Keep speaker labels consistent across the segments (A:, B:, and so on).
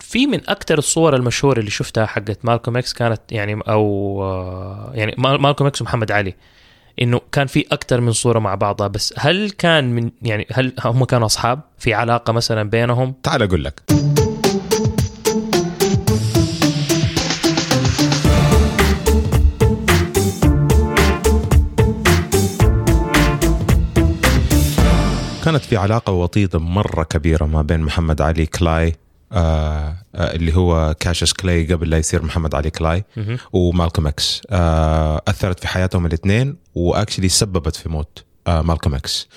A: في من اكثر الصور المشهوره اللي شفتها حقت مالكوم اكس كانت يعني او آه، يعني مال- مالكوم اكس ومحمد علي انه كان في اكثر من صوره مع بعضها بس هل كان من يعني هل هم كانوا اصحاب في علاقه مثلا بينهم
B: تعال اقول لك كانت في علاقة وطيدة مرة كبيرة ما بين محمد علي كلاي آه آه اللي هو كاشس كلاي قبل لا يصير محمد علي كلاي
A: مهم.
B: ومالكوم اكس آه اثرت في حياتهم الاثنين واكشلي سببت في موت آه مالكوم اكس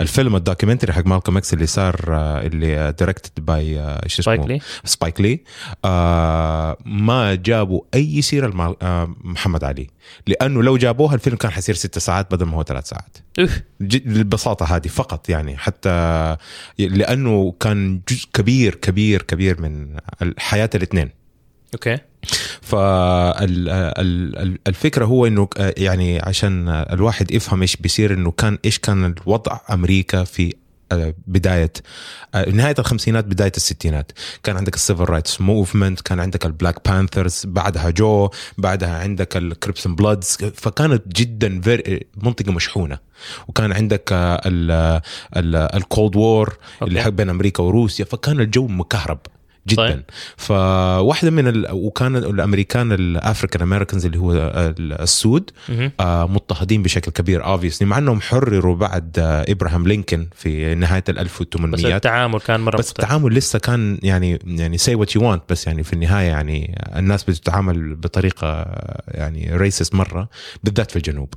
B: الفيلم الدوكيومنتري حق مالكوم اكس اللي صار آه اللي دايركتد باي آه ايش
A: سبايك
B: اسمه
A: لي
B: سبايك لي آه ما جابوا اي سيره لمال- آه محمد علي لانه لو جابوها الفيلم كان حيصير ست ساعات بدل ما هو ثلاث ساعات
A: أوف.
B: جد- بالبساطه هذه فقط يعني حتى لانه كان جزء كبير كبير كبير من حياه الاثنين
A: اوكي
B: فالفكره هو انه آه، يعني عشان آه، الواحد يفهم ايش بيصير انه كان ايش كان الوضع امريكا في آه، بدايه آه، نهايه الخمسينات بدايه الستينات كان عندك السيفل رايتس موفمنت كان عندك البلاك بانثرز بعدها جو بعدها عندك الكريبسن بلادز فكانت جدا very- منطقه مشحونه وكان عندك آه، الكولد وور اللي
A: أوكي.
B: حق بين امريكا وروسيا فكان الجو مكهرب جدا
A: طيب.
B: طيب. فواحده من ال... وكان الامريكان الافريكان امريكانز اللي هو ال- السود
A: مهم.
B: آه، مضطهدين بشكل كبير اوبسلي مع انهم حرروا بعد آه، ابراهام لينكولن في نهايه ال
A: بس
B: 1800
A: التعامل كان مره
B: بس
A: مختلف.
B: التعامل لسه كان يعني يعني سي وات يو وانت بس يعني في النهايه يعني الناس بتتعامل بطريقه يعني ريسست مره بالذات في الجنوب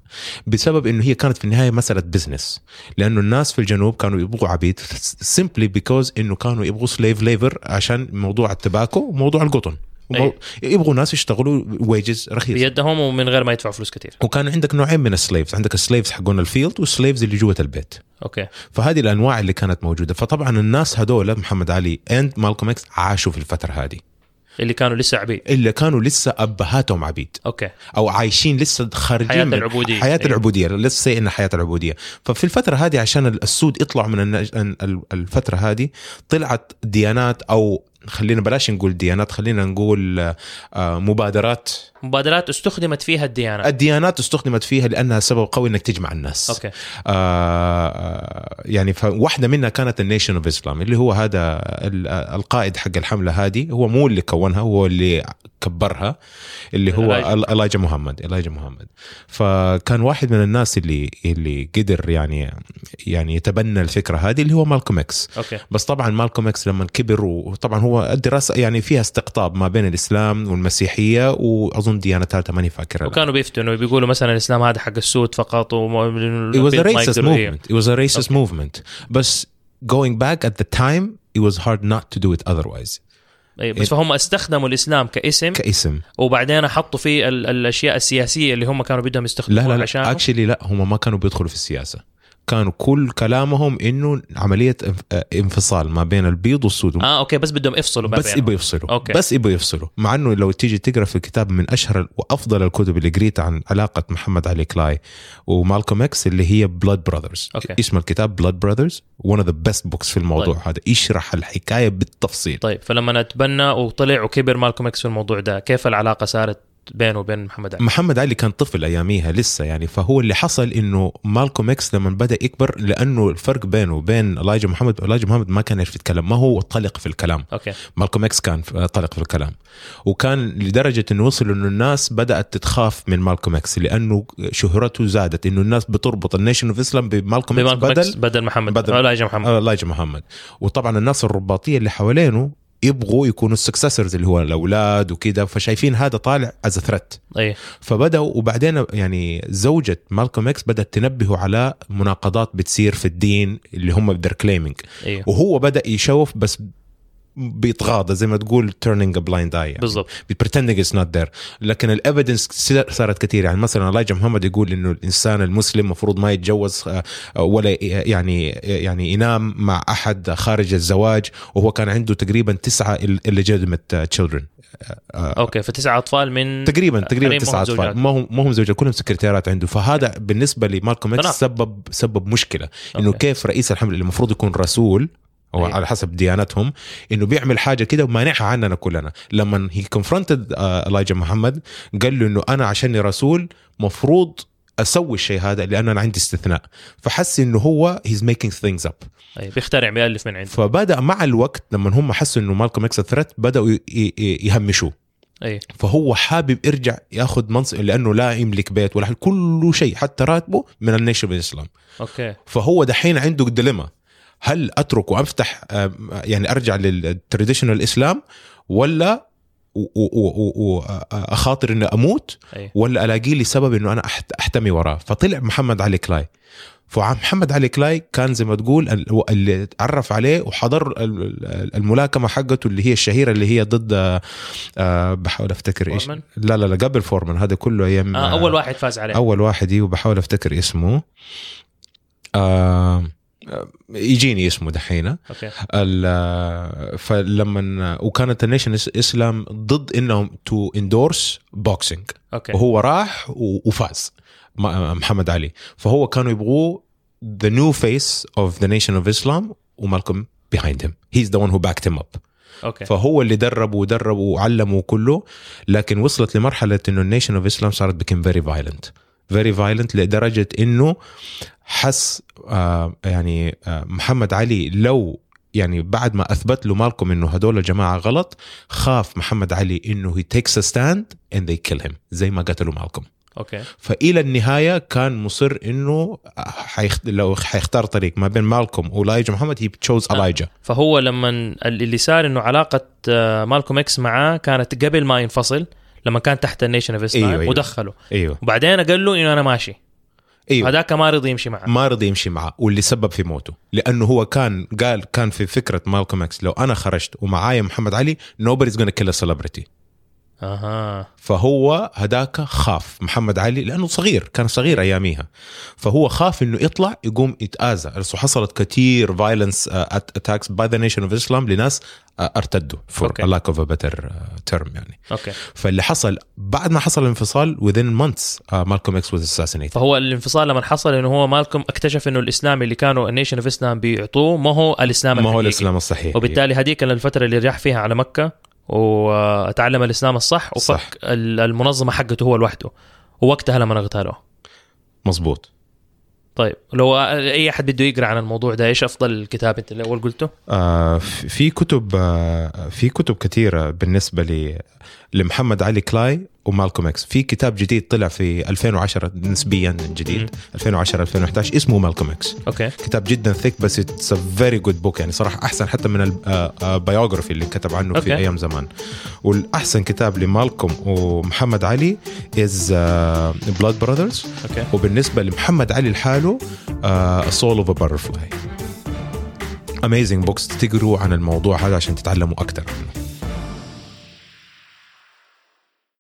B: بسبب انه هي كانت في النهايه مساله بزنس لانه الناس في الجنوب كانوا يبغوا عبيد سمبلي بيكوز انه كانوا يبغوا سليف ليفر عشان موضوع التباكو وموضوع القطن ومو-
A: أي.
B: يبغوا ناس يشتغلوا ويجز رخيص
A: بيدهم ومن غير ما يدفعوا فلوس كثير
B: وكان عندك نوعين من السليفز عندك السليفز حقون الفيلد والسليفز اللي جوه البيت
A: اوكي
B: فهذه الانواع اللي كانت موجوده فطبعا الناس هذول محمد علي اند مالكوم اكس عاشوا في الفتره هذه
A: اللي كانوا لسه عبيد
B: اللي كانوا لسه ابهاتهم عبيد
A: اوكي
B: او عايشين لسه خارجين
A: حياة
B: من
A: العبودية.
B: حياه
A: أيوة.
B: العبوديه لسه سي ان حياه العبوديه ففي الفتره هذه عشان السود يطلعوا من النج... ال- الفتره هذه طلعت ديانات او خلينا بلاش نقول ديانات خلينا نقول آه، آه، مبادرات
A: مبادرات استخدمت فيها الديانات
B: الديانات استخدمت فيها لانها سبب قوي انك تجمع الناس
A: اوكي
B: آه، آه، يعني فواحده منها كانت النيشن اوف اسلام اللي هو هذا ال- آه، القائد حق الحمله هذه هو مو اللي كونها هو اللي كبرها اللي هو
A: إلايجا.
B: إل- إلايجا محمد إلايجا محمد فكان واحد من الناس اللي اللي قدر يعني يعني يتبنى الفكره هذه اللي هو مالكوم اكس
A: اوكي
B: بس طبعا مالكوم اكس لما كبر وطبعا هو الدراسه يعني فيها استقطاب ما بين الاسلام والمسيحيه واظن ديانه ثالثه ماني فاكرها
A: وكانوا بيفتنوا بيقولوا مثلا الاسلام هذا حق السود فقط وما
B: it was a racist
A: يقدروا- إيه.
B: movement. It was a racist movement. بس going back at the time, it was hard not to do it otherwise.
A: إيه، بس فهم استخدموا الاسلام كاسم
B: كاسم
A: وبعدين حطوا فيه ال- الاشياء السياسيه اللي هم كانوا بدهم
B: لا
A: يستخدموها
B: لا
A: عشان
B: لا اكشلي لا هم ما كانوا بيدخلوا في السياسه كانوا كل كلامهم انه عمليه انف- آه، انفصال ما بين البيض والسود
A: اه اوكي بس بدهم يفصلوا يعني. ما
B: بس
A: بينهم.
B: يبغوا يفصلوا
A: أوكي.
B: أوكي. بس يبغوا يفصلوا مع انه لو تيجي تقرا في كتاب من اشهر وافضل الكتب اللي قريتها عن علاقه محمد علي كلاي ومالكوم اكس اللي هي بلاد براذرز
A: أوكي.
B: اسم الكتاب بلاد براذرز ون اوف ذا بيست بوكس في الموضوع طيب. هذا يشرح الحكايه بالتفصيل
A: طيب فلما اتبنى وطلع وكبر مالكم اكس في الموضوع ده كيف العلاقه صارت بينه وبين محمد علي
B: محمد علي كان طفل اياميها لسه يعني فهو اللي حصل انه مالكوم اكس لما بدا يكبر لانه الفرق بينه وبين الايجا محمد الايجا محمد ما كان يعرف يتكلم ما هو طلق في الكلام
A: اوكي
B: مالكوم اكس كان طلق في الكلام وكان لدرجه انه وصل انه الناس بدات تتخاف من مالكوم اكس لانه شهرته زادت انه الناس بتربط النيشن اوف اسلام بمالكوم اكس
A: بمالكم اكس
B: بدل
A: بدل محمد
B: بدل-
A: بدل لا يا محمد
B: الايجا محمد وطبعا الناس الرباطيه اللي حوالينه يبغوا يكونوا السكسسرز اللي هو الاولاد وكذا فشايفين هذا طالع از ثريت
A: اي
B: فبداوا وبعدين يعني زوجة مالكوم اكس بدأت تنبهه على مناقضات بتصير في الدين اللي هم بدر كليمينج
A: ايوه
B: وهو بدأ يشوف بس بيتغاضى زي ما تقول turning a blind eye يعني.
A: بالضبط
B: pretending it's not there لكن الايفيدنس صارت كثير يعني مثلا الايجا محمد يقول انه الانسان المسلم المفروض ما يتجوز آه، ولا ي- يعني يعني ينام مع احد خارج الزواج وهو كان عنده تقريبا تسعه illegitimate آه، children آه.
A: اوكي فتسعة اطفال من
B: تقريبا تقريبا
A: تقريباً
B: تسعة
A: آه، ما هم زوجات.
B: اطفال ما هم ما هم زوجات كلهم سكرتيرات عنده فهذا بالنسبه لمالكوم اكس
A: تناقض.
B: سبب سبب مشكله انه
A: أوكي.
B: كيف رئيس الحمله اللي المفروض يكون رسول او
A: أيوة.
B: على حسب ديانتهم انه بيعمل حاجه كده ومانعها عننا كلنا لما هي كونفرونتد الايجا محمد قال له انه انا عشاني رسول مفروض اسوي الشيء هذا لان انا عندي استثناء فحس انه هو هيز ميكينج ثينجز اب
A: أي إيه، بيخترع بيالف من عنده
B: فبدا مع الوقت لما هم حسوا انه مالكم اكس ثريت بداوا ي- ي- ي- يهمشوه
A: اي
B: فهو حابب يرجع ياخذ منصب لانه لا يملك بيت ولا كل شيء حتى راتبه من النيشن بالاسلام
A: اوكي
B: فهو دحين عنده ديليما هل اترك وافتح آم، يعني ارجع للتراديشنال اسلام ولا و- و- و- و- آ- آ- اخاطر اني اموت
A: اي
B: ولا الاقي لي سبب انه انا أحت- احتمي وراه فطلع محمد علي كلاي فمحمد علي كلاي كان زي ما تقول ال- اللي اتعرف عليه وحضر ال- ال- الملاكمه حقته اللي هي الشهيره اللي هي ضد آه، آه، بحاول افتكر ايش
A: فورمان؟
B: لا لا لا قبل فورمان هذا كله ايام
A: آه اول واحد فاز عليه
B: اول إيه. واحد يجي وبحاول افتكر اسمه آه يجيني اسمه دحين
A: اوكي
B: فلما وكانت النيشن اسلام ضد انهم تو اندورس بوكسينج
A: اوكي
B: وهو راح و- وفاز م- محمد علي فهو كانوا يبغوه ذا نيو فيس اوف ذا نيشن اوف اسلام ومالكم behind him he's the one who backed him up
A: اوكي
B: فهو اللي درب ودرب وعلم وكله لكن وصلت لمرحله انه النيشن اوف اسلام صارت بكم فيري فايلنت فيري فايلنت لدرجه انه حس آه يعني آه محمد علي لو يعني بعد ما اثبت له مالكم انه هدول الجماعه غلط خاف محمد علي انه هي تيكس ستاند اند they كيل هيم زي ما قتلوا مالكم
A: اوكي
B: فالى النهايه كان مصر انه حيخت... لو حيختار طريق ما بين مالكم ولايجا محمد هي تشوز الايجا
A: فهو لما اللي صار انه علاقه آه، مالكوم اكس معاه كانت قبل ما ينفصل لما كان تحت النيشن اوف اسلام
B: أيوة،
A: أيوة
B: أيوة.
A: ودخله
B: ايوه
A: وبعدين قال له انه انا ماشي
B: ايوه
A: هذاك ما رضي يمشي معاه
B: ما رضي يمشي معاه واللي سبب في موته لانه هو كان قال كان في فكره مالكوم اكس لو انا خرجت ومعايا محمد علي nobody's gonna kill a celebrity
A: اها
B: فهو هداك خاف محمد علي لانه صغير كان صغير اياميها فهو خاف انه يطلع يقوم يتاذى بس حصلت uh، كثير فايلنس اتاكس باي ذا نيشن اوف اسلام لناس آه، ارتدوا فور
A: أوكي.
B: لاك اوف ا بيتر تيرم يعني
A: اوكي
B: فاللي حصل بعد ما حصل الانفصال within months uh، مالكوم اكس was assassinated
A: فهو الانفصال لما حصل انه هو مالكم اكتشف انه الاسلام اللي كانوا النيشن اوف اسلام بيعطوه ما هو الاسلام
B: ما هو
A: الحقيقي.
B: الاسلام الصحيح
A: وبالتالي هذيك الفتره اللي راح فيها على مكه وتعلم الاسلام الصح وفك
B: صح.
A: صح. المنظمه حقته هو لوحده ووقتها لما اغتالوه
B: مظبوط
A: طيب لو اي احد بده يقرا عن الموضوع ده ايش افضل كتاب انت اللي اول قلته؟
B: آه، في في كتب آه، في كتب كثيرة بالنسبة ل- لمحمد علي كلاي ومالكوم اكس في كتاب جديد طلع في 2010 نسبيا
A: مم.
B: جديد 2010 2011 اسمه مالكوم اكس
A: اوكي
B: كتاب جدا ثيك بس اتس فيري جود بوك يعني صراحة احسن حتى من البايوغرافي اللي كتب عنه في
A: أوكي.
B: ايام زمان والاحسن كتاب لمالكوم ومحمد علي آه، از بلاد براذرز
A: اوكي
B: وبالنسبه لمحمد علي لحاله آه، سول اوف باترفلاي اميزنج بوكس تقروا عن الموضوع هذا عشان تتعلموا اكثر عنه